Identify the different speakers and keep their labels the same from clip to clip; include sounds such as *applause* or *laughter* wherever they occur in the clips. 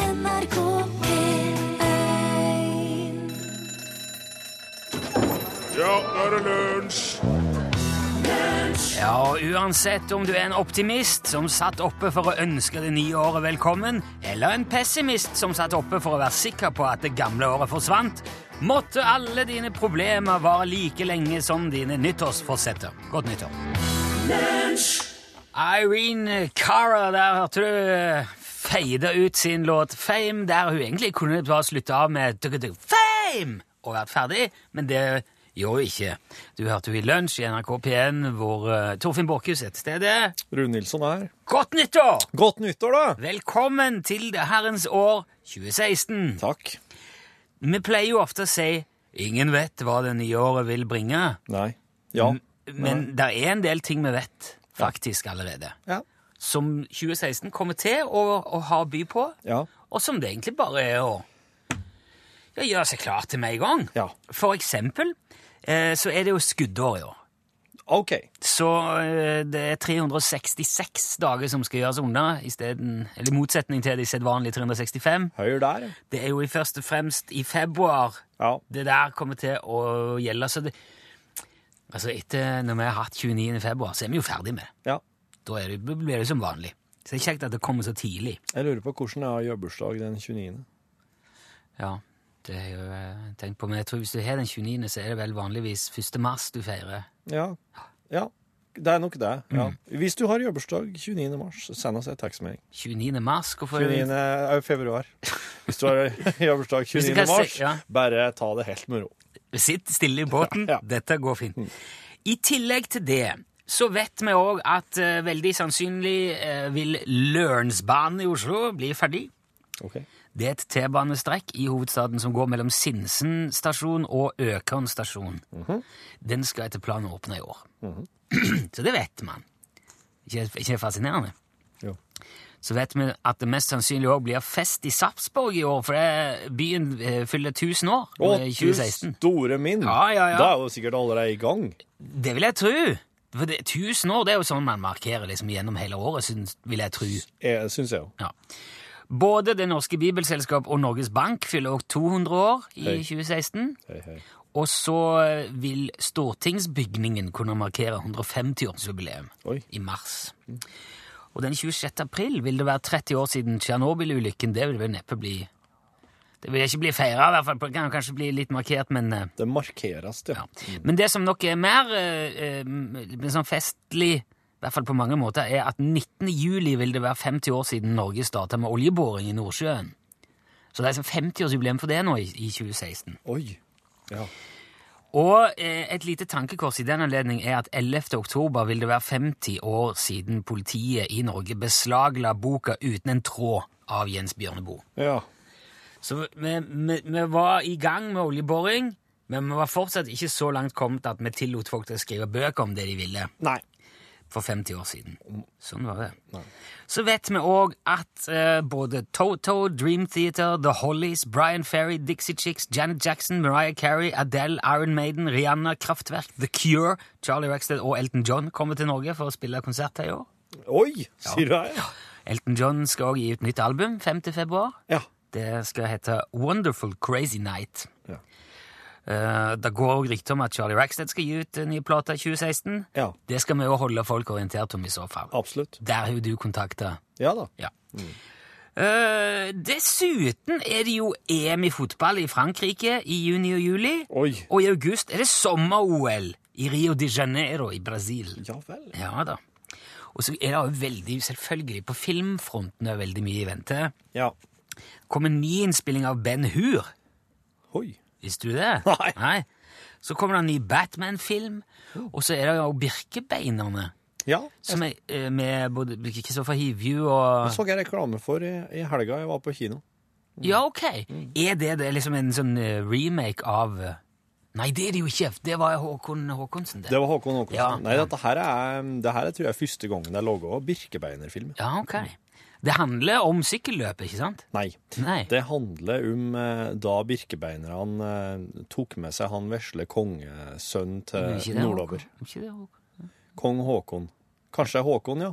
Speaker 1: NRK P1
Speaker 2: Ja, nå er det lunsj!
Speaker 3: Ja, og uansett om du er en optimist som satt oppe for å ønske det nye året velkommen, eller en pessimist som satt oppe for å være sikker på at det gamle året forsvant, måtte alle dine problemer vare like lenge som dine nyttårsforsetter. Godt nyttår. Irene Cara, der hørte du feide ut sin låt Fame, der hun egentlig kunne bare slutte av med tuk -tuk Fame! og vært ferdig, men det gjorde hun ikke. Du hørte henne i lunsj i NRK P1, hvor eh, Torfinn Borkhus er til stede.
Speaker 4: Rune Nilsson her.
Speaker 3: Godt nyttår!
Speaker 4: Godt nyttår, da!
Speaker 3: Velkommen til det herrens år 2016.
Speaker 4: Takk.
Speaker 3: Vi pleier jo ofte å si ingen vet hva det nye året vil bringe,
Speaker 4: Nei. Ja.
Speaker 3: men det er en del ting vi vet faktisk allerede.
Speaker 4: Ja.
Speaker 3: som 2016 kommer til å, å ha å by på,
Speaker 4: Ja.
Speaker 3: og som det egentlig bare er å ja, gjøre seg klar til med en gang.
Speaker 4: Ja.
Speaker 3: For eksempel eh, så er det jo skuddår i år.
Speaker 4: OK.
Speaker 3: Så eh, det er 366 dager som skal gjøres unna, i stedet, eller i motsetning til de sedvanlige 365.
Speaker 4: Høyre der. ja.
Speaker 3: Det er jo i først og fremst i februar
Speaker 4: Ja.
Speaker 3: det der kommer til å gjelde. Så det, altså etter når vi har hatt 29. februar, så er vi jo ferdig med det.
Speaker 4: ja.
Speaker 3: Da er det, blir det som vanlig. Så det er kjekt at det kommer så tidlig.
Speaker 4: Jeg lurer på hvordan jeg har gjørbursdag den 29.
Speaker 3: Ja, det har jeg jo eh, tenkt på. Men jeg tror hvis du har den 29., så er det vel vanligvis 1. mars du feirer.
Speaker 4: Ja. Ja. Det er nok det. Ja. Hvis du har gjørbursdag 29. mars, så send oss en tekstmelding.
Speaker 3: 29. mars? Hvorfor
Speaker 4: 29. er jo
Speaker 3: *laughs*
Speaker 4: februar. Hvis du har gjørbursdag
Speaker 3: Hvis du
Speaker 4: 29.
Speaker 3: kan se-
Speaker 4: mars,
Speaker 3: ja.
Speaker 4: bare ta det helt med ro.
Speaker 3: Sitt stille i båten.
Speaker 4: Ja, ja.
Speaker 3: Dette går fint. I tillegg til det så vet vi òg at eh, veldig sannsynlig eh, vil Lørensbanen i Oslo bli ferdig.
Speaker 4: OK.
Speaker 3: Det er et T-banestrekk i hovedstaden som går mellom Sinsen stasjon og Økern stasjon.
Speaker 4: Mhm.
Speaker 3: Den skal etter planen åpne i år. *clears throat* Så det vet man. Ikke, ikke det fascinerende?
Speaker 4: Jo.
Speaker 3: Så vet vi at det mest sannsynlig òg blir fest i Sarpsborg i år, for det, byen eh, fyller 1000 år
Speaker 4: Å,
Speaker 3: i
Speaker 4: du
Speaker 3: 2016.
Speaker 4: store min!
Speaker 3: Ja, ja, ja.
Speaker 4: Da er jo sikkert allerede i gang.
Speaker 3: Det vil jeg tro! For det, 1000 år det er jo sånn man markerer liksom gjennom hele året, synes, vil jeg tro.
Speaker 4: Eh, Syns jeg jo.
Speaker 3: Ja. Både Det Norske Bibelselskap og Norges Bank fyller også 200 år i
Speaker 4: Hei.
Speaker 3: 2016.
Speaker 4: Hei, hei.
Speaker 3: Og så vil stortingsbygningen kunne markere 150-årsjubileum
Speaker 4: Oi.
Speaker 3: i mars. Og den 26. april vil det være 30 år siden Tsjernobyl-ulykken. Det vil vel neppe bli Det vil ikke bli feira, i hvert fall. Det kan kanskje bli litt markert, men eh,
Speaker 4: Det markeres, det.
Speaker 3: ja. Men det som nok er mer eh, eh, men sånn festlig, i hvert fall på mange måter, er at 19. juli vil det være 50 år siden Norge starta med oljeboring i Nordsjøen. Så det er sånn 50-årsjubileum for det nå i, i 2016.
Speaker 4: Oi. Ja.
Speaker 3: Og eh, et lite tankekors i den anledning er at 11. oktober vil det være 50 år siden politiet i Norge beslagla boka Uten en tråd av Jens Bjørneboe.
Speaker 4: ja.
Speaker 3: Så vi, vi, vi var i gang med oljeboring, men vi var fortsatt ikke så langt kommet at vi tillot folk til å skrive bøker om det de ville
Speaker 4: Nei.
Speaker 3: for 50 år siden.
Speaker 4: Mm.
Speaker 3: Sånn var det. Så vet vi òg at eh, både Toto, Dream Theater, The Hollies, Brian Ferry, Dixie Chicks, Janet Jackson, Mariah Carey, Adele, Iron Maiden, Rihanna, Kraftwerk, The Cure, Charlie Rexted og Elton John kommer til Norge for å spille konsert her i år.
Speaker 4: Oi, sier du det?
Speaker 3: Elton John skal òg gi ut nytt album 5. februar.
Speaker 4: Ja.
Speaker 3: Det skal hete Wonderful Crazy Night.
Speaker 4: Ja.
Speaker 3: Eh, det går òg rykter om at Charlie Rackstead skal gi ut en ny plate i 2016.
Speaker 4: Ja.
Speaker 3: Det skal vi jo holde folk orientert om i så fall.
Speaker 4: Absolutt.
Speaker 3: Der har du kontakta.
Speaker 4: Ja da.
Speaker 3: Ja.
Speaker 4: Mm.
Speaker 3: Eh, dessuten er det jo EM i fotball i Frankrike i juni og juli.
Speaker 4: Oi.
Speaker 3: Og i august er det sommer-OL i Rio de Janeiro i Brasil.
Speaker 4: Ja vel.
Speaker 3: Ja da. Og så er det jo veldig, selvfølgelig, på filmfronten er veldig mye i vente.
Speaker 4: Ja.
Speaker 3: Kommer ny innspilling av Ben Hur.
Speaker 4: Oi.
Speaker 3: Visste du det?
Speaker 4: Nei.
Speaker 3: Så kommer det en ny Batman-film, og så er det jo Birkebeinerne.
Speaker 4: Ja.
Speaker 3: Som er eh, med både Kristoffer Hivju og
Speaker 4: Jeg så jeg reklame for i, i helga jeg var på kino.
Speaker 3: Ja, ok. Er det, det er liksom en sånn eh, remake av eh, Nei, det er det jo ikke. Det var Håkon Håkonsen, det.
Speaker 4: Det var Håkon Håkonsen.
Speaker 3: Ja.
Speaker 4: Nei, dette her er, det her er, tror jeg første gangen jeg laga Birkebeinerfilm.
Speaker 3: Ja, ok. Det handler om sykkelløpet, ikke sant?
Speaker 4: Nei.
Speaker 3: Nei.
Speaker 4: Det handler om eh, da birkebeinerne eh, tok med seg han vesle kongesønnen
Speaker 3: Er
Speaker 4: til
Speaker 3: ikke det Håkon?
Speaker 4: Eh, nordover.
Speaker 3: Er Ikke det Håkon?
Speaker 4: Kong Håkon. Kanskje det er Håkon, ja.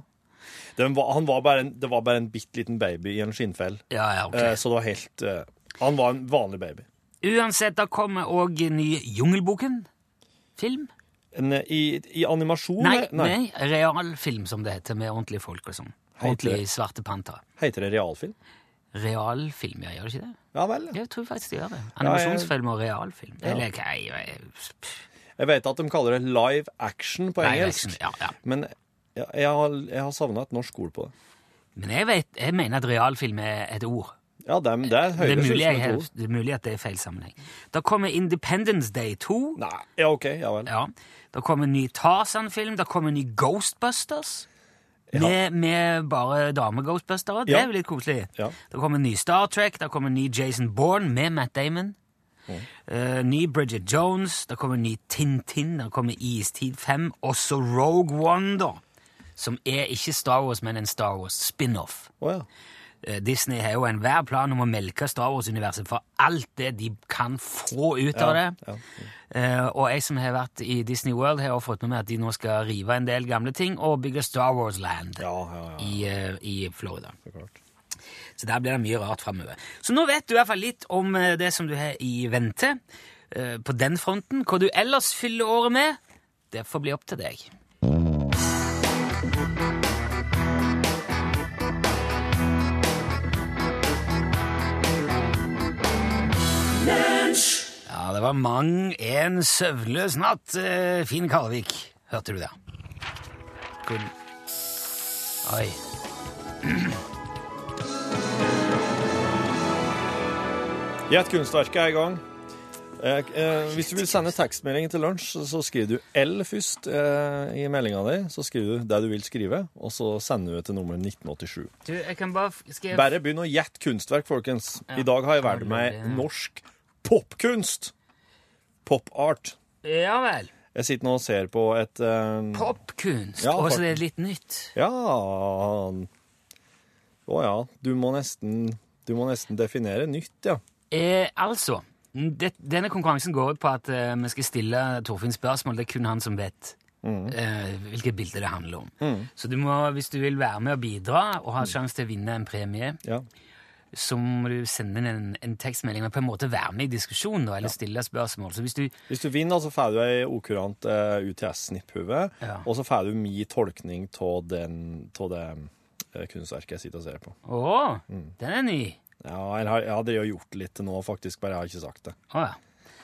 Speaker 4: Den var, han var bare en, det var bare en bitte liten baby i en skinnfell.
Speaker 3: Ja, ja, ok.
Speaker 4: Eh, Så det var helt eh, Han var en vanlig baby.
Speaker 3: Uansett, da kommer òg ny Jungelboken-film.
Speaker 4: En, eh, I, I animasjon eh,
Speaker 3: Nei, nei. realfilm, som det heter, med ordentlige folk og sånn.
Speaker 4: Heter det?
Speaker 3: Ordentlige svarte panter.
Speaker 4: Heter det realfilm?
Speaker 3: Realfilm, ja, gjør det ikke det?
Speaker 4: Ja vel.
Speaker 3: Jeg tror faktisk det gjør det. Animasjonsfilm og realfilm. Eller hva jeg-
Speaker 4: Jeg vet at de kaller det live action på
Speaker 3: Live
Speaker 4: engelsk.
Speaker 3: action, ja, ja.
Speaker 4: Men ja, jeg har, jeg har savna et norsk ord på det.
Speaker 3: Men jeg, vet, jeg mener at realfilm er et ord.
Speaker 4: Ja, det, det
Speaker 3: Det er,
Speaker 4: høres ut
Speaker 3: mulig jeg,
Speaker 4: som et
Speaker 3: har-
Speaker 4: ord.
Speaker 3: det er mulig at det er feil sammenheng. Da kommer Independence Day 2.
Speaker 4: Nei, ja, OK. Ja vel.
Speaker 3: Ja. Da kommer en ny Tarzan-film. Da kommer en ny Ghostbusters. Med, med bare dame-ghostbustere. Det
Speaker 4: Ja.
Speaker 3: er jo litt koselig.
Speaker 4: Ja.
Speaker 3: Da kommer en ny Star Trek. Da kommer en ny Jason Bourne med Matt Damon. Eh, ny Bridget Jones. Da kommer en ny Tintin. Da kommer Istid 5. Også Rogue One, da. Som er ikke Star Wars, men en Star Wars-spin-off.
Speaker 4: Å ja.
Speaker 3: Eh, Disney har jo enhver plan om å melke Star Wars-universet for alt det de kan få ut av det. Eh, og jeg som har vært i Disney World, har også fått med meg at de nå skal rive en del gamle ting og bygge Star Wars Land
Speaker 4: Ja, ja, ja.
Speaker 3: i, eh, i Florida.
Speaker 4: Så klart.
Speaker 3: Så der blir det mye rart framover. Så nå vet du i hvert fall litt om eh, det som du har i vente eh, på den fronten. Hva du ellers fyller året med, det får bli opp til deg. Ja, det var mang en søvnløs natt, eh, Finn Kalvik. Hørte du det? Kun... Oi.
Speaker 4: Gjett kunstverket er i gang. Eh, eh, hvis du vil sende tekstmelding til lunsj, så- så skriver du L først eh, i meldinga di. Så skriver du det du vil skrive, og så sender du det til nummeret 1987.
Speaker 3: Du, jeg kan bare f- skal jeg-
Speaker 4: Bare begynn å gjette kunstverk, folkens. I dag har jeg valgt meg norsk popkunst. Pop-art.
Speaker 3: Ja vel.
Speaker 4: Jeg sitter nå og ser på et eh,
Speaker 3: Popkunst.
Speaker 4: Ja,
Speaker 3: og så
Speaker 4: faktisk.
Speaker 3: det er litt nytt.
Speaker 4: Ja Å ja. Du må nesten Du må nesten definere nytt, ja.
Speaker 3: Eh, altså, det, denne konkurransen går ut på at eh, vi skal stille Torfinn spørsmål. Det er kun han som vet
Speaker 4: Mm.
Speaker 3: eh, hvilket bilde det handler om. Så du må, hvis du vil være med og bidra og
Speaker 4: Mm.
Speaker 3: ha sjanse til å vinne en premie,
Speaker 4: ja.
Speaker 3: så må du sende inn en, en tekstmelding og på en måte være med i diskusjonen da, eller stille spørsmål. Så hvis du
Speaker 4: Hvis du vinner, så får du ei okurant eh, UTS-snipphue,
Speaker 3: Ja.
Speaker 4: og så får du mi tolkning av det eh, kunstverket jeg sitter og ser på.
Speaker 3: Å,
Speaker 4: Mm.
Speaker 3: den er ny!
Speaker 4: Ja, jeg har, jeg har drevet og gjort litt til nå, faktisk, bare jeg har ikke sagt det.
Speaker 3: Å ja.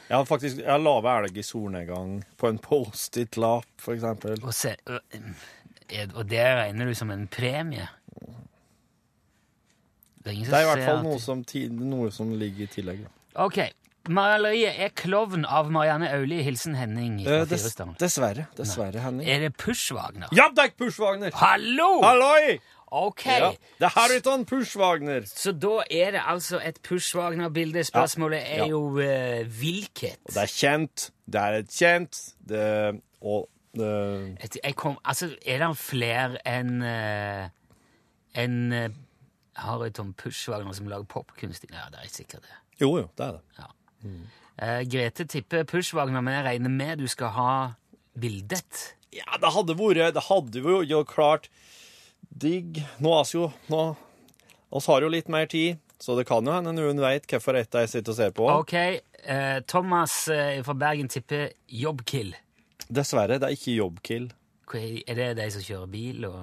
Speaker 4: Jeg har faktisk jeg har lave elg i solnedgang på en Post-It-lapp, for eksempel.
Speaker 3: Og, se, og, er- og det regner du som en premie? Det er, ingen som
Speaker 4: Det er i
Speaker 3: ser
Speaker 4: hvert fall
Speaker 3: at-
Speaker 4: noe som, ti, noe som ligger i tillegg. Da.
Speaker 3: Ok. Maleriet er klovn av Marianne Aulie. Hilsen Henning. fra
Speaker 4: Eh, dess,
Speaker 3: Fyresdal.
Speaker 4: dessverre. Dessverre, Henning.
Speaker 3: Er det Pushwagner?
Speaker 4: Ja, det er Pushwagner!
Speaker 3: Hallo!
Speaker 4: Halloi!
Speaker 3: Ok.
Speaker 4: Ja, det er Harriton Pushwagner.
Speaker 3: Så da er det altså et Pushwagner-bilde. Spørsmålet er
Speaker 4: Ja.
Speaker 3: jo eh, hvilket.
Speaker 4: Det er kjent. Det er et kjent. Det, og det,
Speaker 3: Et- Jeg kom, altså, er det flere enn uh, enn eh, Hariton Pushwagner som lager popkunst? Ja, det er ikke sikkert det.
Speaker 4: Jo, jo, det er det.
Speaker 3: Eh, Grete tipper Pushwagner, men jeg regner med du skal ha bildet.
Speaker 4: Ja, det hadde vært Det hadde jo, jo klart digg Nå er vi jo Nå oss har jo litt mer tid, så det kan jo hende noen veit hvorfor et jeg sitter og ser på.
Speaker 3: Ok, eh, Thomas eh, fra Bergen tipper Jobbkill.
Speaker 4: Dessverre, det er ikke jobbkill.
Speaker 3: Hva Er er det de som kjører bil og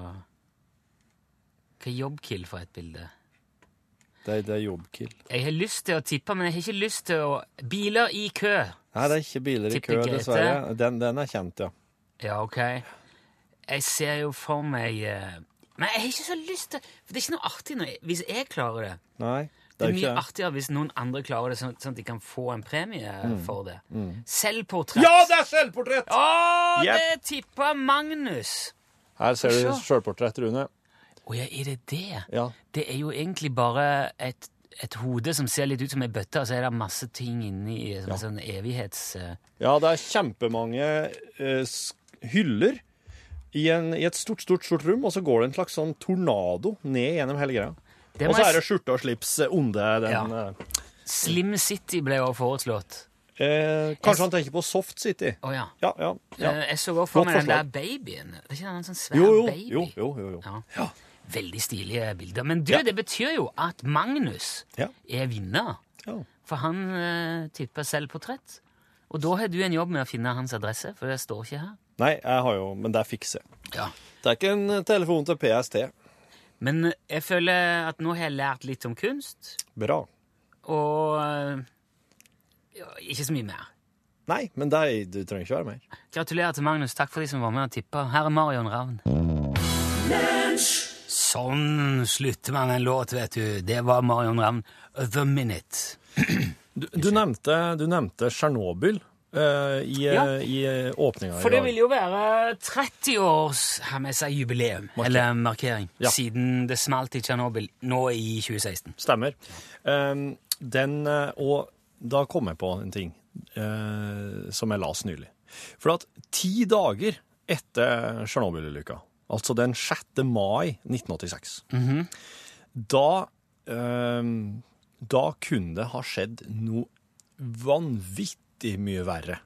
Speaker 3: Hva er jobbkill for et bilde?
Speaker 4: Det, er- det er jobbkill.
Speaker 3: Jeg har lyst til å tippe, men jeg har ikke lyst til å Biler i kø!
Speaker 4: Nei, det er ikke biler i kø,
Speaker 3: Tipper Grete.
Speaker 4: dessverre. Den, den er kjent, ja.
Speaker 3: Ja, ok. Jeg ser jo for meg eh, Men jeg har ikke så lyst til For det er ikke noe artig når jeg, hvis jeg klarer det.
Speaker 4: Nei,
Speaker 3: Det
Speaker 4: det
Speaker 3: er
Speaker 4: er jo
Speaker 3: mye
Speaker 4: ikke det.
Speaker 3: artigere hvis noen andre klarer det, sånn, sånn at de kan få en premie for det. Selvportrett.
Speaker 4: Mm. Ja, det er selvportrett!
Speaker 3: Å, det
Speaker 4: Yep.
Speaker 3: tippa Magnus!
Speaker 4: Her ser du
Speaker 3: Få se.
Speaker 4: selvportrett, Rune.
Speaker 3: Å ja, er det det?
Speaker 4: Ja.
Speaker 3: Det er jo egentlig bare et, et hode som ser litt ut som ei bøtte, og så er det masse ting inni som en sånn evighets... eh,
Speaker 4: ja, det er kjempemange eh, sk- hyller i, en, i et stort, stort, stort rom, og så går det en slags sånn tornado ned gjennom hele greia.
Speaker 3: Det
Speaker 4: Og
Speaker 3: må
Speaker 4: så
Speaker 3: jeg
Speaker 4: er det
Speaker 3: s-
Speaker 4: skjorte og slips eh, onde den
Speaker 3: Ja.
Speaker 4: eh,
Speaker 3: Slim City ble jo foreslått.
Speaker 4: Eh, kanskje han tenker på Soft City.
Speaker 3: Å ja.
Speaker 4: Ja, ja, ja.
Speaker 3: Eh, Jeg så godt for
Speaker 4: Godt
Speaker 3: meg den der
Speaker 4: forslag.
Speaker 3: babyen. Var ikke den en sånn svær
Speaker 4: Jo, jo,
Speaker 3: baby?
Speaker 4: jo, jo, jo, jo.
Speaker 3: Ja. Veldig stilige bilder. Men du,
Speaker 4: Ja.
Speaker 3: det betyr jo at Magnus
Speaker 4: Ja.
Speaker 3: er vinner.
Speaker 4: Ja.
Speaker 3: For han eh, tipper selvportrett. Og da har du en jobb med å finne hans adresse, for det står ikke her.
Speaker 4: Nei, jeg har jo Men det fikser jeg.
Speaker 3: Ja.
Speaker 4: Det er ikke en eh, telefon til PST.
Speaker 3: Men eh, jeg føler at nå har jeg lært litt om kunst,
Speaker 4: Bra.
Speaker 3: og eh, ja, ikke så mye mer.
Speaker 4: Nei, men det er, du trenger ikke være mer.
Speaker 3: Gratulerer til Magnus. Takk for de som var med og tippa. Her er Marion Ravn. Sånn slutter man en låt, vet du. Det var Marion Ravn. The Minute.
Speaker 4: Du, du nevnte du nevnte Tsjernobyl eh, i, eh,
Speaker 3: Ja.
Speaker 4: i eh, åpninga i
Speaker 3: For det
Speaker 4: dag.
Speaker 3: vil jo være 30 års her med seg jubileum, eller markering,
Speaker 4: Ja.
Speaker 3: siden det smalt i Tsjernobyl nå i 2016.
Speaker 4: Stemmer. Um, den, eh, og da kom jeg på en ting eh, som jeg las nylig. For at ti dager etter Tsjernobyl-ulykka, altså den 6. mai 1986, da um, Da kunne det ha skjedd noe vanvittig mye verre.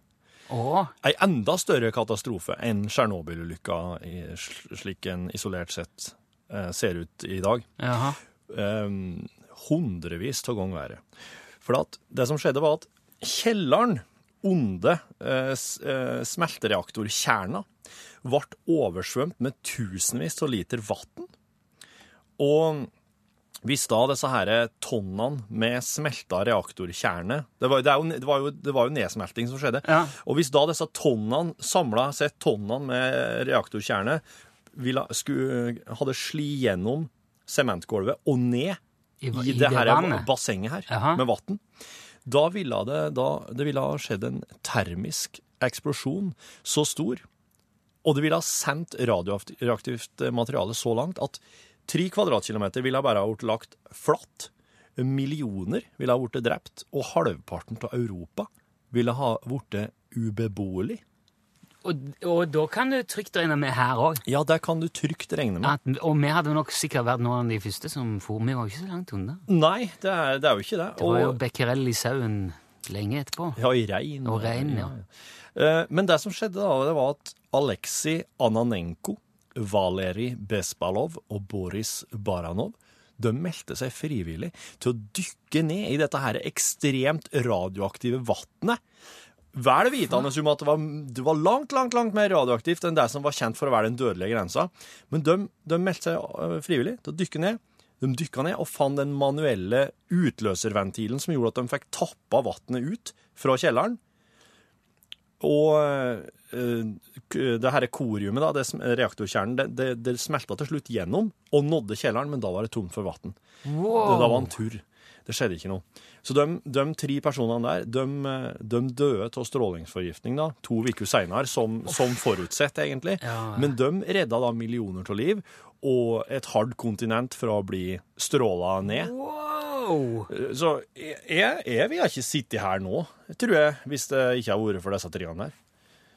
Speaker 3: Og
Speaker 4: Ei enda større katastrofe enn Tsjernobyl-ulykka, i- sl- slik en isolert sett eh, ser ut i dag
Speaker 3: jaha.
Speaker 4: um, hundrevis av ganger verre. For at det som skjedde, var at kjelleren under eh, s- eh, smeltereaktorkjerna ble oversvømt med tusenvis av liter vann. Og hvis da disse her tonnene med smelta reaktorkjerne det var, det, er jo, det, var jo, det var jo nedsmelting som skjedde.
Speaker 3: Ja.
Speaker 4: Og hvis da disse tonnene samla sett tonnene med reaktorkjerne ville, skulle, hadde sli gjennom sementgulvet og ned
Speaker 3: I,
Speaker 4: i, det, her
Speaker 3: vannet.
Speaker 4: bassenget her
Speaker 3: Jaha.
Speaker 4: med vann, da ville det, da, det ville ha skjedd en termisk eksplosjon så stor, og det ville ha sendt radioaktivt materiale så langt at tre kvadratkilometer ville ha bare ha vært lagt flatt, millioner ville ha vært drept, og halvparten av Europa ville ha vært ubeboelig.
Speaker 3: Og, og da kan du trygt regne med her òg.
Speaker 4: Ja, det kan du trygt regne med.
Speaker 3: Og vi hadde nok sikkert vært noen av de første som for. Vi var jo ikke så langt unna.
Speaker 4: Nei, det er, det er jo ikke det.
Speaker 3: Det var jo
Speaker 4: Og-
Speaker 3: Becquerel i sauen lenge etterpå.
Speaker 4: Ja, i regn.
Speaker 3: Og regn, ja.
Speaker 4: Eh, Men det som skjedde da, det var at Aleksej Ananenko, Valerij Besbalov og Boris Baranov de meldte seg frivillig til å dykke ned i dette her ekstremt radioaktive vannet. Vel vitende om at det var, det var langt langt, langt mer radioaktivt enn det som var kjent for å være den dødelige grensa. Men de, de meldte seg eh, frivillig til å dykke ned. De dykka ned og fant den manuelle utløserventilen som gjorde at de fikk tappa vannet ut fra kjelleren. Og eh, k- det her koriumet, da, det, sm- reaktorkjernen, det, det, det smelta til slutt gjennom og nådde kjelleren, men da var det tomt for vann. Det, da var en tur. Det skjedde ikke noe. Så de, de tre personene der, de, eh, de døde av strålingsforgiftning da, to uker seinere, som, som forutsett, egentlig.
Speaker 3: Ja.
Speaker 4: Men de redda da millioner av liv, og et hardt kontinent fra å bli stråla ned.
Speaker 3: Wow!
Speaker 4: Så jeg, jeg vil ikke sitte her nå, tror jeg, hvis det ikke har vært for disse treene der.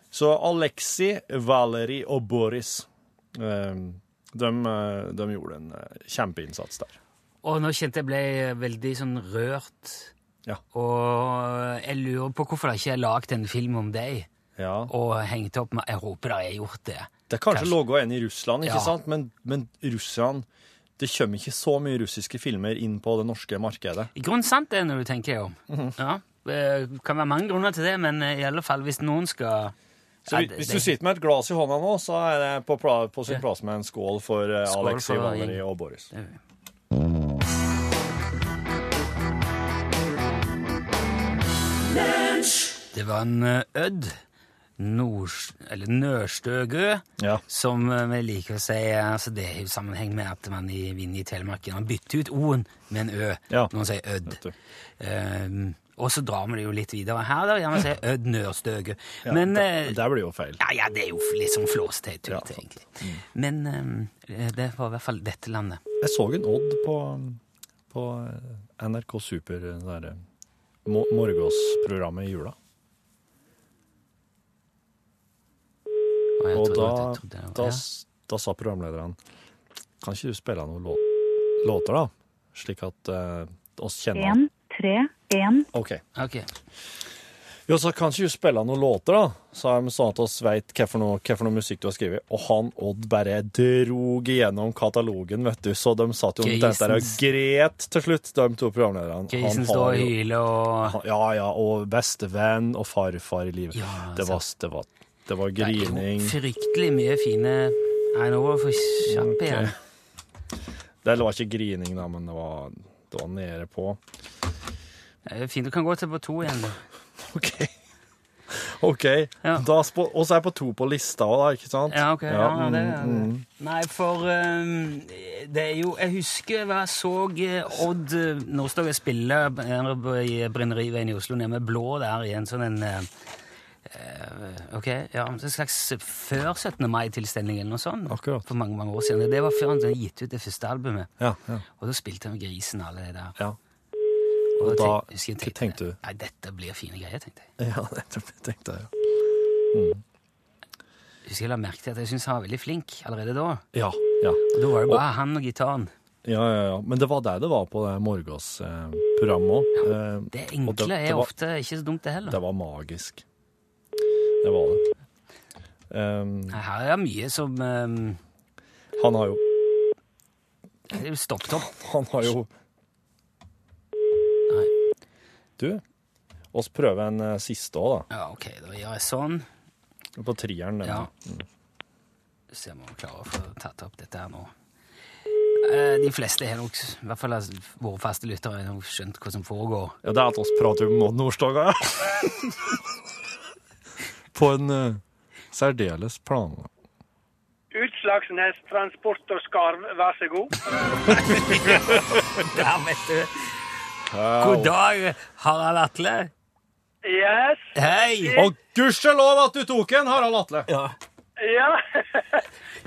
Speaker 4: Så Aleksi, Valeri og Boris, eh, de, eh, de gjorde en eh, kjempeinnsats der.
Speaker 3: Og nå kjente jeg ble veldig sånn rørt.
Speaker 4: Ja.
Speaker 3: Og jeg lurer på hvorfor det ikke er lagd en film om deg
Speaker 4: Ja.
Speaker 3: og hengt opp med Jeg håper det er gjort det.
Speaker 4: Det er kanskje,
Speaker 3: Kanskje.
Speaker 4: logget en i Russland, ikke
Speaker 3: Ja.
Speaker 4: sant? Men, men Russland, det kommer ikke så mye russiske filmer inn på det norske markedet.
Speaker 3: I grunnen sant det, når du tenker deg om.
Speaker 4: Mhm.
Speaker 3: Ja. Det kan være mange grunner til det, men eh, i alle fall hvis noen skal
Speaker 4: Så
Speaker 3: Ja,
Speaker 4: hvis,
Speaker 3: det-
Speaker 4: hvis
Speaker 3: det-
Speaker 4: du sitter med et glass i hånda nå, så er det på, pla- på sin
Speaker 3: Ja.
Speaker 4: plass med en skål for eh,
Speaker 3: Skål
Speaker 4: Alexei,
Speaker 3: for
Speaker 4: Valeri
Speaker 3: gjengen.
Speaker 4: og Boris.
Speaker 3: Det gjør vi. Det var en eh, Ødd Nors- eller Nørstøgø,
Speaker 4: Ja.
Speaker 3: som eh, vi liker å si. eh, Altså det er jo sammenheng med at man i Vinje i Telemark gjerne bytter ut O-en med en Ø
Speaker 4: Ja.
Speaker 3: når man sier Ødd.
Speaker 4: Vet du.
Speaker 3: Ehm, og så drar vi det jo litt videre her, da. Gjerne sier Ødd Nørstøgø. Men
Speaker 4: det,
Speaker 3: eh,
Speaker 4: det blir jo feil.
Speaker 3: ja, ja, det er jo litt sånn flåsteit,
Speaker 4: Ja, Mm.
Speaker 3: tullete, egentlig. Men eh, det var i hvert fall dette landet.
Speaker 4: Jeg så en Odd på, på eh, NRK Super, det der eh, mo morgensprogrammet i jula.
Speaker 3: Og jeg
Speaker 4: Og
Speaker 3: trodde
Speaker 4: da,
Speaker 3: at- jeg trodde det var-
Speaker 4: da,
Speaker 3: ja.
Speaker 4: s- da sa programlederen Kan ikke du spille noen lå låter, da? Slik at eh, oss kjenner
Speaker 1: En, tre, en.
Speaker 4: OK.
Speaker 3: Ok.
Speaker 4: Jo, så kan ikke du spille noen låter, da? Sa de sånn at oss veit hva for noe hva for noe musikk du har skrevet. Og han Odd bare drog igjennom katalogen, vet du. Så de satt jo omtrent der og
Speaker 3: Jasens.
Speaker 4: gret til slutt, de to programlederne.
Speaker 3: Jason
Speaker 4: Han
Speaker 3: står
Speaker 4: har
Speaker 3: og
Speaker 4: jo-
Speaker 3: hyler og
Speaker 4: han- Ja, ja. Og bestevenn og farfar i livet.
Speaker 3: Ja,
Speaker 4: det, var, det, var, det var grining.
Speaker 3: Fryktelig mye fine Nei, nå var det for
Speaker 4: Mm,
Speaker 3: kjapp igjen.
Speaker 4: Det var ikke grining, da, men det var, det var nede på.
Speaker 3: Det er Fint. Du kan gå til på to igjen. da.
Speaker 4: OK. *laughs* OK.
Speaker 3: Ja.
Speaker 4: Da sp- Og så er jeg på to på lista òg, da, ikke sant?
Speaker 3: Ja, ok. Ja,
Speaker 4: mm,
Speaker 3: det, er
Speaker 4: mm.
Speaker 3: det. Nei, for ehm, det er jo Jeg husker jeg så eh, Odd eh, Nordstoga spille her på- i Brenneriveien i Oslo, nede med blå der i en sånn en eh, eh, Ok, ja, en slags før 17. mai-tilstelning eller noe sånt.
Speaker 4: Akkurat.
Speaker 3: For mange, mange år siden. Det var før han hadde gitt ut det første albumet.
Speaker 4: Ja, ja,
Speaker 3: Og da spilte han Grisen og alle de der.
Speaker 4: ja.
Speaker 3: Og
Speaker 4: da
Speaker 3: tenk- husker jeg
Speaker 4: tenkte du?
Speaker 3: Nei, dette blir fine greier, tenkte jeg.
Speaker 4: Ja, *laughs* nettopp. Det tenkte jeg. ja.
Speaker 3: Husker jeg la merke til at jeg syntes han var veldig flink allerede da.
Speaker 4: Ja, ja.
Speaker 3: Og da var det bare han og gitaren.
Speaker 4: ja, ja, ja. Men det var der det var på det eh, morgensprogrammet òg.
Speaker 3: Det enkle er ofte ikke så dumt, det heller.
Speaker 4: Eh, Det var magisk. Det var det. Ehm,
Speaker 3: Nei, Her er mye som um,
Speaker 4: han har jo
Speaker 3: Stopp, stopp.
Speaker 4: Han har jo
Speaker 3: Nei.
Speaker 4: Du, oss prøver en eh, siste òg, da.
Speaker 3: Ja, OK, da gjør jeg sånn.
Speaker 4: På trieren. den.
Speaker 3: Ja. Se om vi klarer å få tatt opp dette her nå. Eh, De fleste har nok, i hvert fall altså, våre faste lyttere, har nok skjønt hva som foregår.
Speaker 4: Ja, det er at oss prater om
Speaker 3: *laughs*
Speaker 4: Odd Nordstoga, ja. På en eh, særdeles plan...
Speaker 1: Utslagsnes Transport og Skarv, vær så god.
Speaker 3: Der, vet du. God dag, Harald Atle.
Speaker 1: Yes,
Speaker 3: Hei!
Speaker 4: Og gudskjelov at du tok en, Harald Atle!
Speaker 1: ja.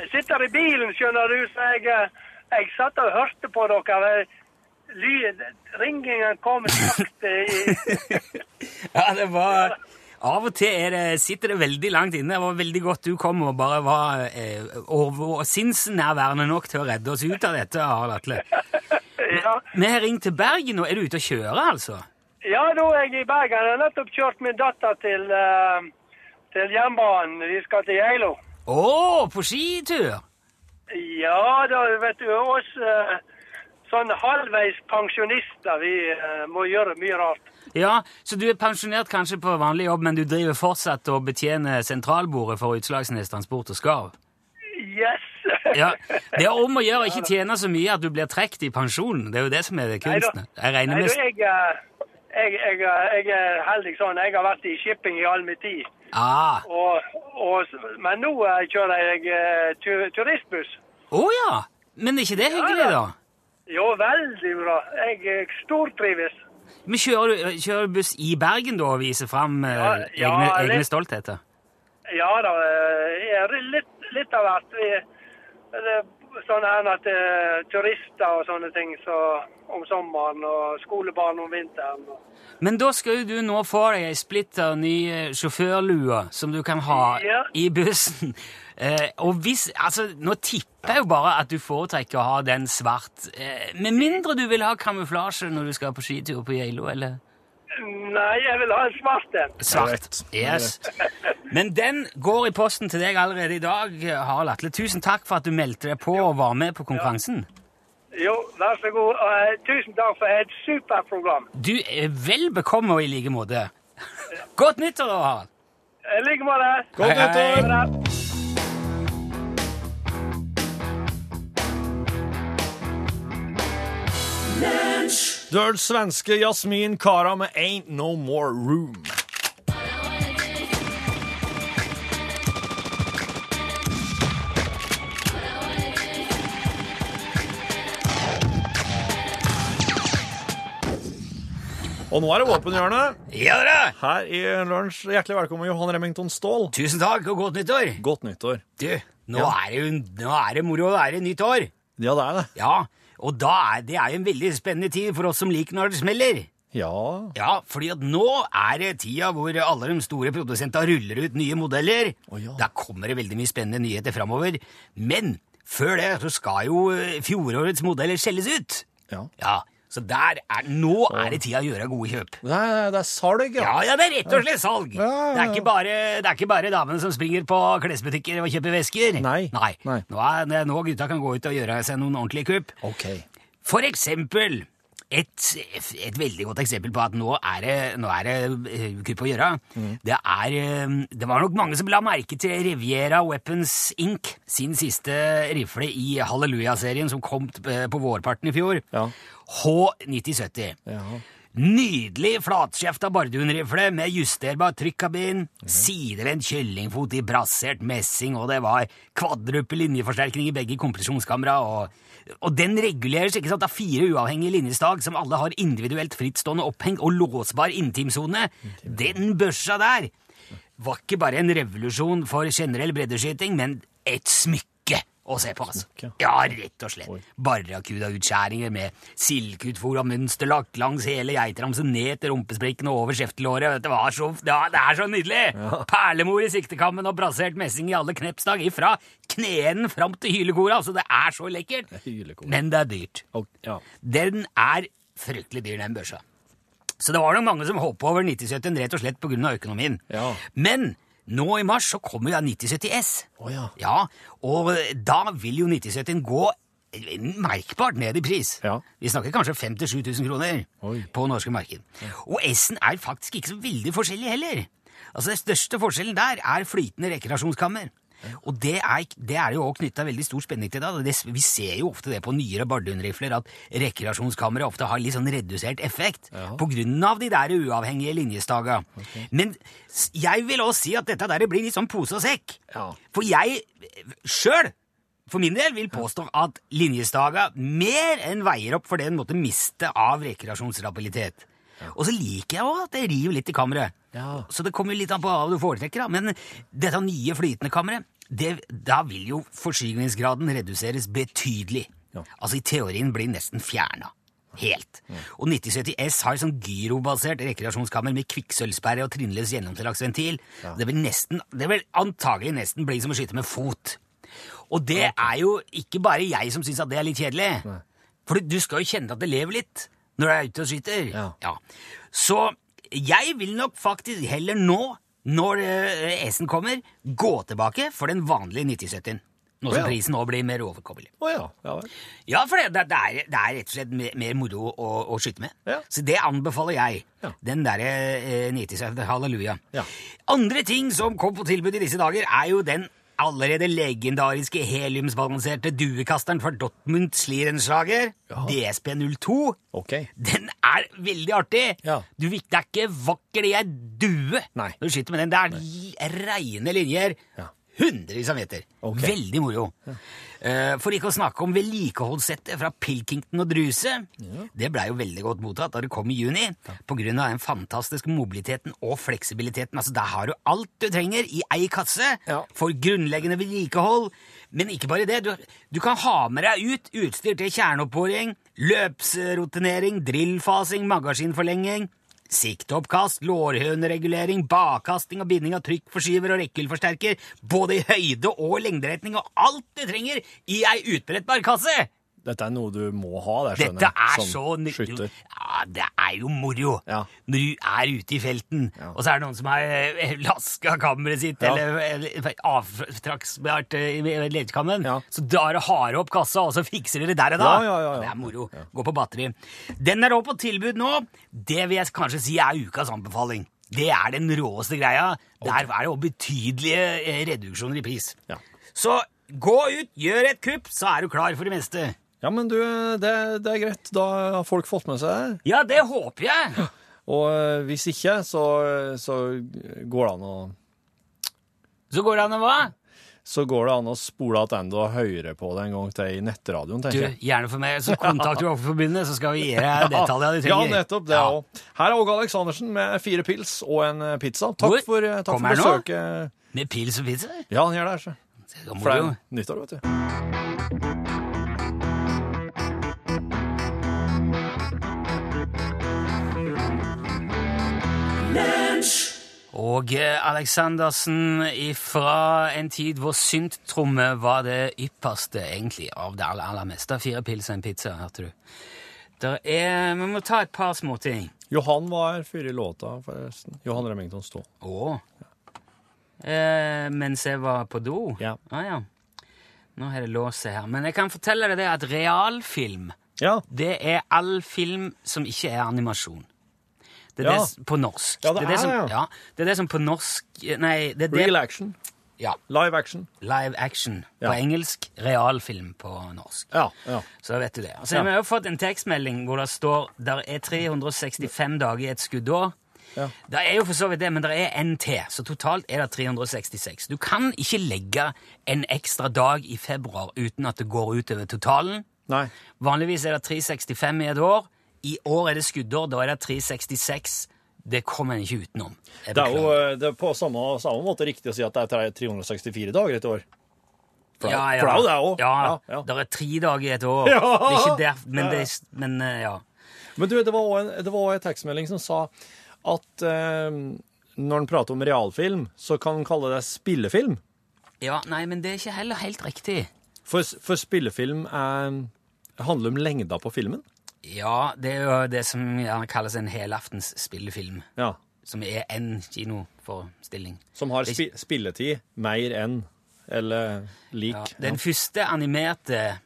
Speaker 1: Jeg sitter i bilen, skjønner du, så jeg, eh, jeg satt og hørte på dere. Ly, ringingen kom sakte i *laughs*
Speaker 3: Ja, det var Av og til er det, sitter det veldig langt inne. Det var veldig godt du kom og bare var eh, over- sinnsnærværende nok til å redde oss ut av dette, Harald Atle.
Speaker 1: Ja,
Speaker 3: Vi har ringt til Bergen nå. Er du ute og kjører, altså?
Speaker 1: ja nå er jeg i Bergen. Jeg har nettopp kjørt min datter til, eh, til jernbanen. Vi skal til Geilo.
Speaker 3: Å, på skitur!
Speaker 1: Ja da, vet du, oss eh, sånn halvveis pensjonister, vi eh, må gjøre mye rart.
Speaker 3: Ja, Så du er pensjonert kanskje på vanlig jobb, men du driver fortsatt og betjener sentralbordet for Utslagsnes Transport og Skarv?
Speaker 1: Yes!
Speaker 3: Ja,
Speaker 1: *laughs*
Speaker 3: Det er om å gjøre å ikke tjene så mye at du blir trukket i pensjonen. Det er jo det som er kunsten. Jeg regner med
Speaker 1: Nei, du, jeg, eh, jeg, jeg, eh, jeg er heldig sånn. Jeg har vært i shipping i all min tid.
Speaker 3: Ah.
Speaker 1: Og, og, s- men nå eh, kjører jeg eh, tu, turistbuss.
Speaker 3: Å ja! Men er ikke det hyggelig,
Speaker 1: ja.
Speaker 3: da?
Speaker 1: Jo, veldig bra. Jeg eh, stortrives.
Speaker 3: Men kjører du, kjører du buss i Bergen da og viser fram eh,
Speaker 1: Ja, ja,
Speaker 3: egne,
Speaker 1: litt.
Speaker 3: egne stoltheter?
Speaker 1: Ja da, eh, jeg er litt, litt av hvert. Vi, det, er sånn her at eh, turister og sånne ting så, om sommeren, og skolebarn om vinteren. Og.
Speaker 3: Men da skal jo du nå få deg ei splitter ny eh, sjåførlue som du kan ha
Speaker 1: Ja.
Speaker 3: i bussen. Eh, og hvis Altså, nå tipper jeg jo bare at du foretrekker å ha den svart. Eh, med mindre du vil ha kamuflasje når du skal på skitur på Geilo, eller
Speaker 1: Nei, jeg vil ha en svart en.
Speaker 3: Svart. Yes. Men den går i posten til deg allerede i dag, Harald Atle. Tusen takk for at du meldte deg på og var med på konkurransen.
Speaker 1: Jo, vær så god. og, eh, Tusen takk for et superprogram.
Speaker 3: Du er vel bekomme og i like måte. Godt nyttår, da, Harald.
Speaker 1: I like måte.
Speaker 4: Godt
Speaker 3: Hei, hei.
Speaker 4: nyttår!
Speaker 1: Ha det.
Speaker 4: Du hørte svenske Jasmin Kara med Ain't No More Room. Og nå er det våpenhjørnet.
Speaker 3: Ja da!
Speaker 4: Her i lunsj, hjertelig velkommen Johan Remington Ståhl.
Speaker 3: Tusen takk, og godt nyttår!
Speaker 4: Godt nyttår.
Speaker 3: Du, nå, er det jo, nå er det moro å være nytt år.
Speaker 4: Ja, det er det.
Speaker 3: Ja, og da er, det er jo en veldig spennende tid for oss som liker når det smeller.
Speaker 4: Ja.
Speaker 3: Ja, fordi at nå er det tida hvor alle de store produsentene ruller ut nye modeller.
Speaker 4: Å ja.
Speaker 3: Da kommer det veldig mye spennende nyheter framover. Men før det så skal jo eh, fjorårets modeller skjelles ut.
Speaker 4: Ja.
Speaker 3: Ja, Så der er, nå er det tida å gjøre gode kjøp.
Speaker 4: Nei, nei, det er salg,
Speaker 3: Ja, ja, det er rett og slett salg!
Speaker 4: Ja, ja, ja.
Speaker 3: Det, er ikke bare, det er ikke bare damene som springer på klesbutikker og kjøper vesker.
Speaker 4: Nei.
Speaker 3: Nei.
Speaker 4: Nei.
Speaker 3: Nå, er, det- nå gutta kan gå ut og gjøre seg noen ordentlige kupp.
Speaker 4: OK.
Speaker 3: For eksempel et, et veldig godt eksempel på at nå er det, nå er det eh, kupp å gjøre.
Speaker 4: Mm.
Speaker 3: Det, er, eh, det var nok mange som la merke til Riviera Weapons Inc. sin siste rifle i Halleluja-serien som kom t- eh, på vårparten i fjor.
Speaker 4: Ja.
Speaker 3: H9070.
Speaker 4: Ja.
Speaker 3: Nydelig flatskjefta bardunrifle med justerbar trykkabin, sidevendt kyllingfot i brassert messing, og det var kvadruppel linjeforsterkning i begge kompresjonskamera, og, og den reguleres ikke sant av fire uavhengige linjestag som alle har individuelt frittstående oppheng og låsbar intimsone. Den børsa der var ikke bare en revolusjon for generell breddeskyting, men et smykke å se på, altså.
Speaker 4: Smykke.
Speaker 3: Ja, rett og slett. Barrakuda-utskjæringer med silkeutfôr av mønsterlakk langs hele geitramsen, ned til rumpesprekken og over kjeftelåret. Det, var så, ja, det er så nydelig! Perlemor i siktekammen og brassert messing i alle knepsdag, ifra kneenden fram til hylekora. Altså, det er så lekkert!
Speaker 4: hylekor.
Speaker 3: Men det er dyrt.
Speaker 4: Ok, ja.
Speaker 3: Den er fryktelig dyr, den børsa. Så det var nok mange som hoppa over 9070 rett og slett pga. økonomien.
Speaker 4: Ja.
Speaker 3: Men nå i mars så kommer jo da 9070S.
Speaker 4: Å ja.
Speaker 3: Og da vil jo 9070 gå merkbart ned i pris.
Speaker 4: Ja.
Speaker 3: Vi snakker kanskje 5000-7000 kroner
Speaker 4: Oi.
Speaker 3: på norske marked. Og S-en er faktisk ikke så veldig forskjellig heller. Altså Den største forskjellen der er flytende rekreasjonskammer. Og det er, ikk- det er jo også knytta veldig stor spenning til det. og det. s- Vi ser jo ofte det på nyere bardunrifler at rekreasjonskammeret ofte har litt sånn redusert effekt
Speaker 4: Ja.
Speaker 3: på grunn av de der uavhengige linjestaga. Men s- jeg vil også si at dette der blir litt sånn pose og sekk.
Speaker 4: Ja.
Speaker 3: For jeg eh, sjøl, for min del, vil påstå at linjestaga mer enn veier opp for det en måtte miste av rekreasjonsrabilitet. Og så liker jeg òg at det river litt i kammeret.
Speaker 4: Ja.
Speaker 3: Så det kommer jo litt an på hva du foretrekker, da. Men dette nye flytende kammeret, det, da vil jo forskyvningsgraden reduseres betydelig.
Speaker 4: Ja.
Speaker 3: Altså i teorien blir nesten fjerna. Helt. Og 9070S har sånn gyrobasert rekreasjonskammer med kvikksølvsperre og trinnløs gjennomtrekksventil. Det vil nesten, det vil antagelig nesten bli som å skyte med fot. Og det er jo ikke bare jeg som syns at det er litt kjedelig. For du skal jo kjenne at det lever litt når du er ute og skyter.
Speaker 4: Ja.
Speaker 3: Så jeg vil nok faktisk heller nå, når eh, S-en kommer, gå tilbake for den vanlige 9070-en. Nå som
Speaker 4: Ja.
Speaker 3: prisen nå blir mer overkommelig.
Speaker 4: Å ja. Ja vel.
Speaker 3: Ja, for det, det, det, er, det er rett og slett mer, mer moro å, å skyte med.
Speaker 4: Ja.
Speaker 3: Så det anbefaler jeg.
Speaker 4: Ja.
Speaker 3: Den derre eh, 90-70, halleluja.
Speaker 4: Ja.
Speaker 3: Andre ting som kom på tilbud i disse dager, er jo den allerede legendariske heliumsbalanserte duekasteren fra Dortmund Slierenslager,
Speaker 4: Ja.
Speaker 3: DSP02.
Speaker 4: OK.
Speaker 3: Den er veldig artig!
Speaker 4: Ja.
Speaker 3: Du, vet, det er ikke vakker, det er due
Speaker 4: Nei.
Speaker 3: når du skyter med den. Det er reine linjer.
Speaker 4: Ja.
Speaker 3: Hundrevis av meter.
Speaker 4: Ok.
Speaker 3: Veldig moro. Eh, for ikke å snakke om vedlikeholdssettet fra Pilkington og Druse. Det blei jo veldig godt mottatt da det kom i juni, på grunn av den fantastiske mobiliteten og fleksibiliteten. Altså, Der har du alt du trenger i ei kasse
Speaker 4: Ja.
Speaker 3: for grunnleggende vedlikehold. Men ikke bare det. Du, du kan ha med deg ut utstyr til kjerneoppboring, løpsrotinering, drillfasing, magasinforlenging, sikteoppkast, lårhøneregulering, bakkasting og binding av trykkforskyver og rekkehullforsterker, både i høyde og lengderetning, og alt du trenger i ei utbrettbar kasse!
Speaker 4: Dette er noe du må ha, det skjønner
Speaker 3: Dette er
Speaker 4: jeg,
Speaker 3: så
Speaker 4: som
Speaker 3: nyttig.
Speaker 4: skytter.
Speaker 3: Ja, det er jo moro
Speaker 4: Ja.
Speaker 3: når du er ute i felten, og så er det noen som har eh, *laughs* laska kammeret sitt,
Speaker 4: Ja.
Speaker 3: eller, eller avtraksbart eh, i i ledekammen,
Speaker 4: Ja.
Speaker 3: så drar det harde opp kassa, og så fikser dere det der og da.
Speaker 4: Ja, ja, ja, ja.
Speaker 3: Det er moro. Gå på batteri. Den er også på tilbud nå. Det vil jeg kanskje si er ukas anbefaling. Det er den råeste greia. Der er det også betydelige eh, reduksjoner i pris.
Speaker 4: Ja.
Speaker 3: Så gå ut, gjør et kupp, så er du klar for det meste.
Speaker 4: Ja, men du, det, det er greit. Da har folk fått med seg det.
Speaker 3: Ja, det håper jeg.
Speaker 4: Og eh, hvis ikke, så, så går det an å
Speaker 3: Så går det an å hva?
Speaker 4: så går det an å spole tilbake og høre på det en gang til i nettradioen,
Speaker 3: Du,
Speaker 4: tenker jeg.
Speaker 3: gjerne for meg, så kontakter du Offerforbundet, så skal vi gi deg detaljene du
Speaker 4: *laughs* Ja,
Speaker 3: trenger.
Speaker 4: nettopp. det
Speaker 3: Ja.
Speaker 4: også. Her er Åge Aleksandersen med fire pils og en eh, pizza. Takk
Speaker 3: Hvor?
Speaker 4: for, eh, takk
Speaker 3: Kommer han
Speaker 4: for
Speaker 3: nå?
Speaker 4: besøket.
Speaker 3: Med pils og pizza?
Speaker 4: Ja, han gjør det. altså.
Speaker 3: Det er
Speaker 4: For det er
Speaker 3: moro.
Speaker 4: jo nyttår, vet du.
Speaker 3: Og eh, Aleksandersen ifra en tid hvor synttromme var det ypperste, egentlig, av det aller, aller meste. Fire pils og en pizza, hørte du. Der er, vi må ta et par småting.
Speaker 4: Johan var her før i låta, forresten. Johan Remington Stå.
Speaker 3: Å. Eh, mens jeg var på do?
Speaker 4: Ja.
Speaker 3: Ah, ja. Nå har det låst seg her. Men jeg kan fortelle deg det at realfilm,
Speaker 4: Ja.
Speaker 3: det er all film som ikke er animasjon. Det er
Speaker 4: Ja.
Speaker 3: det s- på norsk.
Speaker 4: Ja, det er
Speaker 3: som,
Speaker 4: det, ja.
Speaker 3: ja. Det er det som på norsk Nei, det er det
Speaker 4: Real action.
Speaker 3: ja,
Speaker 4: Live action.
Speaker 3: Live action på
Speaker 4: Ja.
Speaker 3: engelsk, realfilm på norsk.
Speaker 4: Ja. ja.
Speaker 3: Så da vet du det. Og Så
Speaker 4: Ja.
Speaker 3: har vi jo fått en tekstmelding hvor det står der er 365 dager i et skuddår.
Speaker 4: Ja.
Speaker 3: Det er jo for så vidt det, men det er en til, så totalt er det 366. Du kan ikke legge en ekstra dag i februar uten at det går utover totalen.
Speaker 4: Nei.
Speaker 3: Vanligvis er det 365 i et år. I år er det skuddår, da er det 366. Det kommer en ikke utenom. Jeg
Speaker 4: Det er jo
Speaker 3: beklager.
Speaker 4: eh, det er på samme, samme måte riktig å si at det er 364 dager et år. For det-
Speaker 3: ja, ja.
Speaker 4: For det eh, er jo det òg.
Speaker 3: Ja,
Speaker 4: Ja, ja.
Speaker 3: Det er tre dager i et år.
Speaker 4: *laughs* Ja.
Speaker 3: Det er ikke der, men, det er, men eh, ja.
Speaker 4: Men du, det var også en, det var også en tekstmelding som sa at eh, når en prater om realfilm, så kan en kalle det spillefilm.
Speaker 3: ja. Nei, men det er ikke heller helt riktig.
Speaker 4: For, for spillefilm er, handler om lengda på filmen.
Speaker 3: Ja, det er jo det som gjerne kalles en helaftens spillefilm.
Speaker 4: Ja.
Speaker 3: Som er én kinoforestilling.
Speaker 4: Som har spi, spilletid mer enn eller lik.
Speaker 3: Ja.
Speaker 4: Ja.
Speaker 3: Den første animerte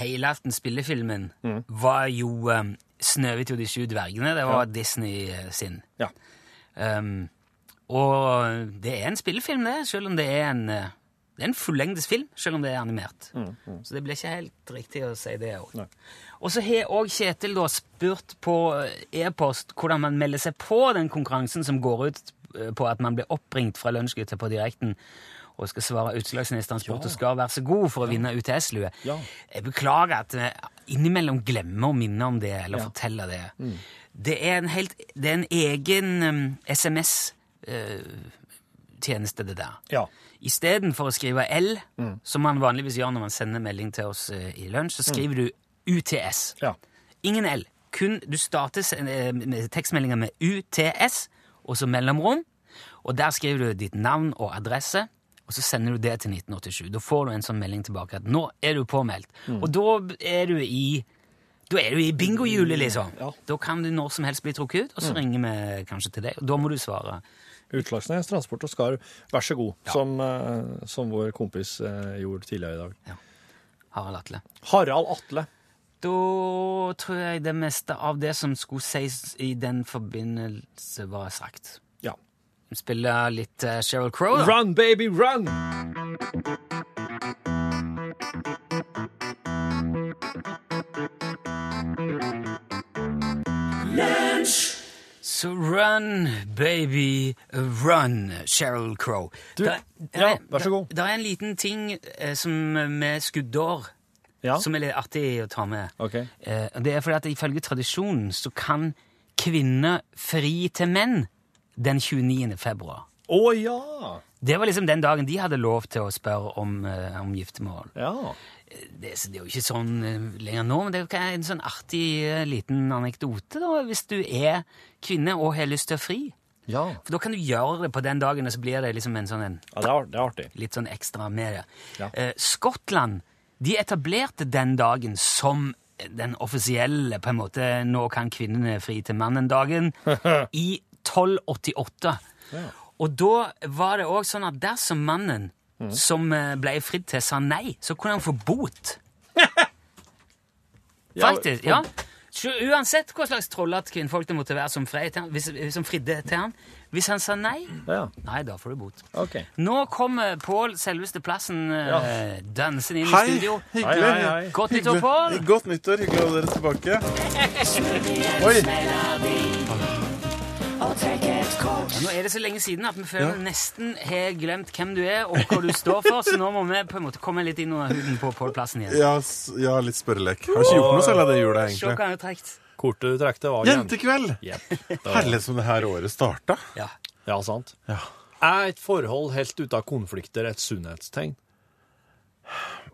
Speaker 3: helaftens spillefilmen var jo um, 'Snøhvit og de sju dvergene'. Det var Disney eh, sin.
Speaker 4: Ja.
Speaker 3: Um, og det er en spillefilm, det, selv om det er en eh, det er en fullengdes film, selv om det er animert. Så det ble ikke helt riktig å si det òg.
Speaker 4: Mm, Nei.
Speaker 3: Og så har òg Kjetil da spurt på e-post hvordan man melder seg på den konkurransen som går ut eh, på at man blir oppringt fra Lunsjgutta på direkten og skal svare utslagsministeren sport og skal være så god for å vinne UTS-lue.
Speaker 4: Ja.
Speaker 3: Jeg beklager at jeg innimellom glemmer å minne om det eller fortelle det.
Speaker 4: Mm.
Speaker 3: Det er en helt Det er en egen eh, SMS-tjeneste, det der.
Speaker 4: Ja. Mm.
Speaker 3: Istedenfor å skrive L, som man vanligvis gjør når man sender melding til oss eh, i lunsj, så skriver du UTS.
Speaker 4: Ja.
Speaker 3: Ingen L. Kun du starter sen- eh, med tekstmeldinga med UTS, og så mellomrom. Og der skriver du ditt navn og adresse, og så sender du det til 1987. Da får du en sånn melding tilbake at 'nå er du påmeldt'.
Speaker 4: Mm.
Speaker 3: Og da er du i da er du i bingohjulet, liksom.
Speaker 4: Mm, Ja. Mm.
Speaker 3: Da kan du når som helst bli trukket ut, og så ringer vi kanskje til deg, og da må du svare.
Speaker 4: Utslagsnes Transport og Skar, vær så god, som, eh, som vår kompis eh, gjorde tidligere i dag.
Speaker 3: Harald Atle.
Speaker 4: Harald Atle.
Speaker 3: Da tror jeg det meste av det som skulle sies i den forbindelse, var sagt.
Speaker 4: Ja.
Speaker 3: Vi Spiller litt eh, Sheryl Crow, da.
Speaker 4: Run, baby, run!
Speaker 3: Så run, baby, run, Sheryl Crow. Der- der
Speaker 4: ja,
Speaker 3: er-
Speaker 4: vær så god.
Speaker 3: der- Der er en liten ting eh, som eh, med skuddår
Speaker 4: Ja.
Speaker 3: som er litt artig å ta med.
Speaker 4: Ok.
Speaker 3: Eh, og det er fordi at ifølge tradisjonen så kan kvinner fri til menn den 29. februar.
Speaker 4: Å ja!
Speaker 3: Det var liksom den dagen de hadde lov til å spørre om, eh, om giftermål.
Speaker 4: Ja.
Speaker 3: Det, så det er jo ikke sånn eh, lenger nå, men det er jo ikke en sånn artig eh, liten anekdote da, hvis du er kvinne og har lyst til å fri.
Speaker 4: Ja,
Speaker 3: For da kan du gjøre det på den dagen, og så blir det liksom en sånn en,
Speaker 4: ja det, er, art- det er artig.
Speaker 3: litt sånn ekstra med det.
Speaker 4: Ja.
Speaker 3: Eh, Skottland de etablerte den dagen som den offisielle på en måte, nå kan kvinnene fri til mannen-dagen, i 1288. Og da var det òg sånn at dersom mannen som eh, ble fridd til, sa nei, så kunne han få bot. Faktisk, ja. Så uansett hva slags trollete kvinnfolk det måtte være som, frei til han, hvis, som fridde til han. Hvis han sa nei,
Speaker 4: Ja,
Speaker 3: nei, da får du bot.
Speaker 4: ok.
Speaker 3: Nå kommer Pål selveste plassen eh,
Speaker 4: Ja.
Speaker 3: dansende inn
Speaker 2: Hei,
Speaker 3: i studio.
Speaker 4: Hei,
Speaker 2: hyggelig.
Speaker 4: hei, hei.
Speaker 3: Godt nyttår, Pål!
Speaker 2: Godt nyttår, hyggelig å ha dere tilbake. Oi,
Speaker 3: Nå er det så lenge siden at vi føler nesten har glemt hvem du er og hva du står for, så nå må vi på en måte komme litt inn under huden på Pål Plassen igjen.
Speaker 2: ja, s- ja, litt spørrelek. Har ikke gjort noe selv av det jula,
Speaker 3: Se hva
Speaker 2: egentlig.
Speaker 3: han har trukket.
Speaker 4: Kortet du trakk til var jente.
Speaker 2: Jentekveld!
Speaker 4: Jepp.
Speaker 2: Herlig som det her året starta.
Speaker 3: Ja.
Speaker 4: Ja, sant.
Speaker 2: Ja.
Speaker 4: Er et forhold helt ute av konflikter et sunnhetstegn?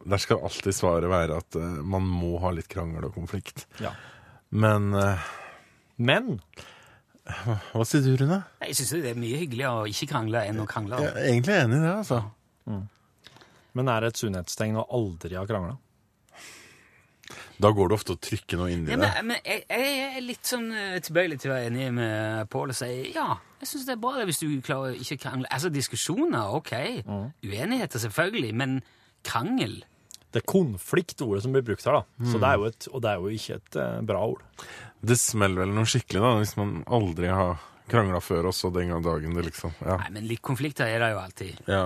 Speaker 2: Der skal alltid svaret være at eh, man må ha litt krangel og konflikt.
Speaker 4: Ja.
Speaker 2: Men eh,
Speaker 4: Men
Speaker 2: hva sier du, Rune?
Speaker 3: Jeg syns det er mye hyggeligere å ikke krangle enn å krangle.
Speaker 2: Jeg er egentlig enig i det, altså.
Speaker 4: Men er det et sunnhetstegn å aldri ha krangla?
Speaker 2: Da går det ofte å trykke noe inni
Speaker 3: Ja,
Speaker 2: det.
Speaker 3: men, men jeg, jeg er litt sånn eh, tilbøyelig til å være enig med Pål og si ja. Jeg syns det er bra det hvis du klarer å ikke krangle. Altså, diskusjoner, ok. Mm. Uenigheter, selvfølgelig. Men krangel
Speaker 4: Det er konfliktordet som blir brukt her, da. Så det er jo et, og det er jo ikke et eh, bra ord.
Speaker 2: Det smeller vel noe skikkelig da, hvis man aldri har krangla før, og så den gang dagen det liksom Ja.
Speaker 3: Nei, men litt konflikter er det jo alltid.
Speaker 2: ja.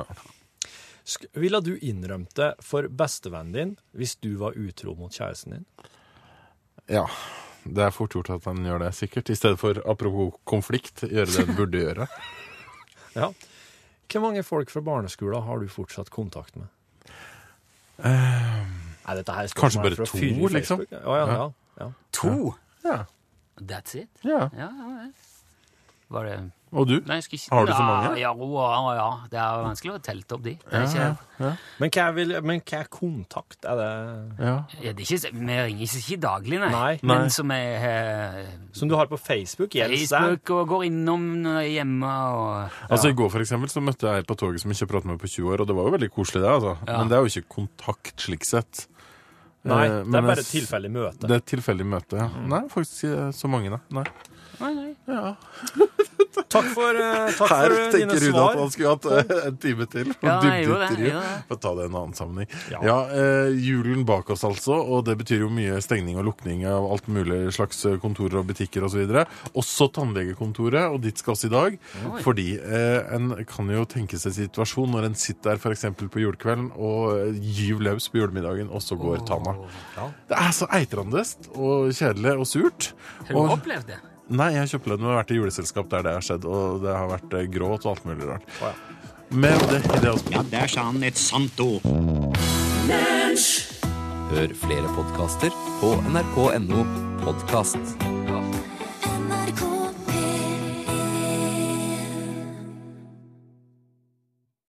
Speaker 4: Sk- Ville du innrømt det for bestevennen din hvis du var utro mot kjæresten din?
Speaker 2: ja. Det er fort gjort at han gjør det, sikkert. I stedet for, apropos konflikt, gjøre det han burde gjøre.
Speaker 4: Ja. Hvor mange folk fra barneskolen har du fortsatt kontakt med? Nei, dette her er
Speaker 2: Eh, Kanskje
Speaker 4: spørsmål
Speaker 2: bare
Speaker 4: fra
Speaker 2: to,
Speaker 4: fyr i
Speaker 2: liksom?
Speaker 4: Facebook. Ja, ja, ja. ja.
Speaker 3: To!
Speaker 2: Ja.
Speaker 3: That's it.
Speaker 2: ja.
Speaker 3: Ja, ja, ja. Var det
Speaker 2: Og du?
Speaker 3: Nei, jeg skal ikke...
Speaker 2: Har du så mange?
Speaker 3: Ja, ja, ja, ja. Det er vanskelig å telte opp de. Det er ikke...
Speaker 2: Ja, ja.
Speaker 4: Men hva, er vil, men hva er kontakt? Er det
Speaker 2: ja.
Speaker 3: Ja, det er ikke, vi ringer ikke daglig, nei.
Speaker 4: Nei.
Speaker 2: Nei.
Speaker 3: Men som er eh,
Speaker 4: Som du har på Facebook? Gjelds der?
Speaker 3: Facebook og går innom når jeg er hjemme og
Speaker 2: Altså I går for eksempel, så møtte jeg ei på toget som jeg ikke har pratet med på 20 år, og det var jo veldig koselig, det. altså.
Speaker 3: Ja.
Speaker 2: Men det er jo ikke kontakt slik sett.
Speaker 4: Nei,
Speaker 2: Eh,
Speaker 4: det
Speaker 2: men
Speaker 4: er bare
Speaker 2: jeg
Speaker 4: et
Speaker 2: s-
Speaker 4: tilfeldig møte. Mm.
Speaker 2: Det er et tilfeldig møte, ja. Nei, faktisk ikke så mange, da. Nei.
Speaker 3: Nei, nei.
Speaker 2: Ja.
Speaker 4: Takk for, eh, takk
Speaker 2: Her
Speaker 4: for eh, dine
Speaker 2: tenker Rune at
Speaker 4: svar.
Speaker 2: han skulle hatt eh, en time til. for
Speaker 3: Ja, jeg
Speaker 2: dypt
Speaker 3: gjorde det,
Speaker 2: intervju.
Speaker 3: jeg gjorde det.
Speaker 2: Får ta det i en annen sammenheng.
Speaker 4: Ja.
Speaker 2: Ja, eh, Julen bak oss, altså. Og det betyr jo mye stengning og lukning av alt mulig slags eh, kontorer og butikker osv. Også tannlegekontoret, og dit skal oss i dag.
Speaker 3: Oi.
Speaker 2: Fordi eh, en kan jo tenke seg situasjon når en sitter der f.eks. på julekvelden og eh, gyver løs på julemiddagen, og så går tanna. Det er så eitrende og kjedelig og surt.
Speaker 3: Har du
Speaker 2: Og-
Speaker 3: opplevd det?
Speaker 2: Nei, jeg har kjøpt lønn og vært i juleselskap der det har skjedd, og det har vært eh, gråt og alt mulig rart. Men det, det er også
Speaker 5: Ja, der sa han et sant ord.
Speaker 6: Hør flere podkaster på nrk.no podkast.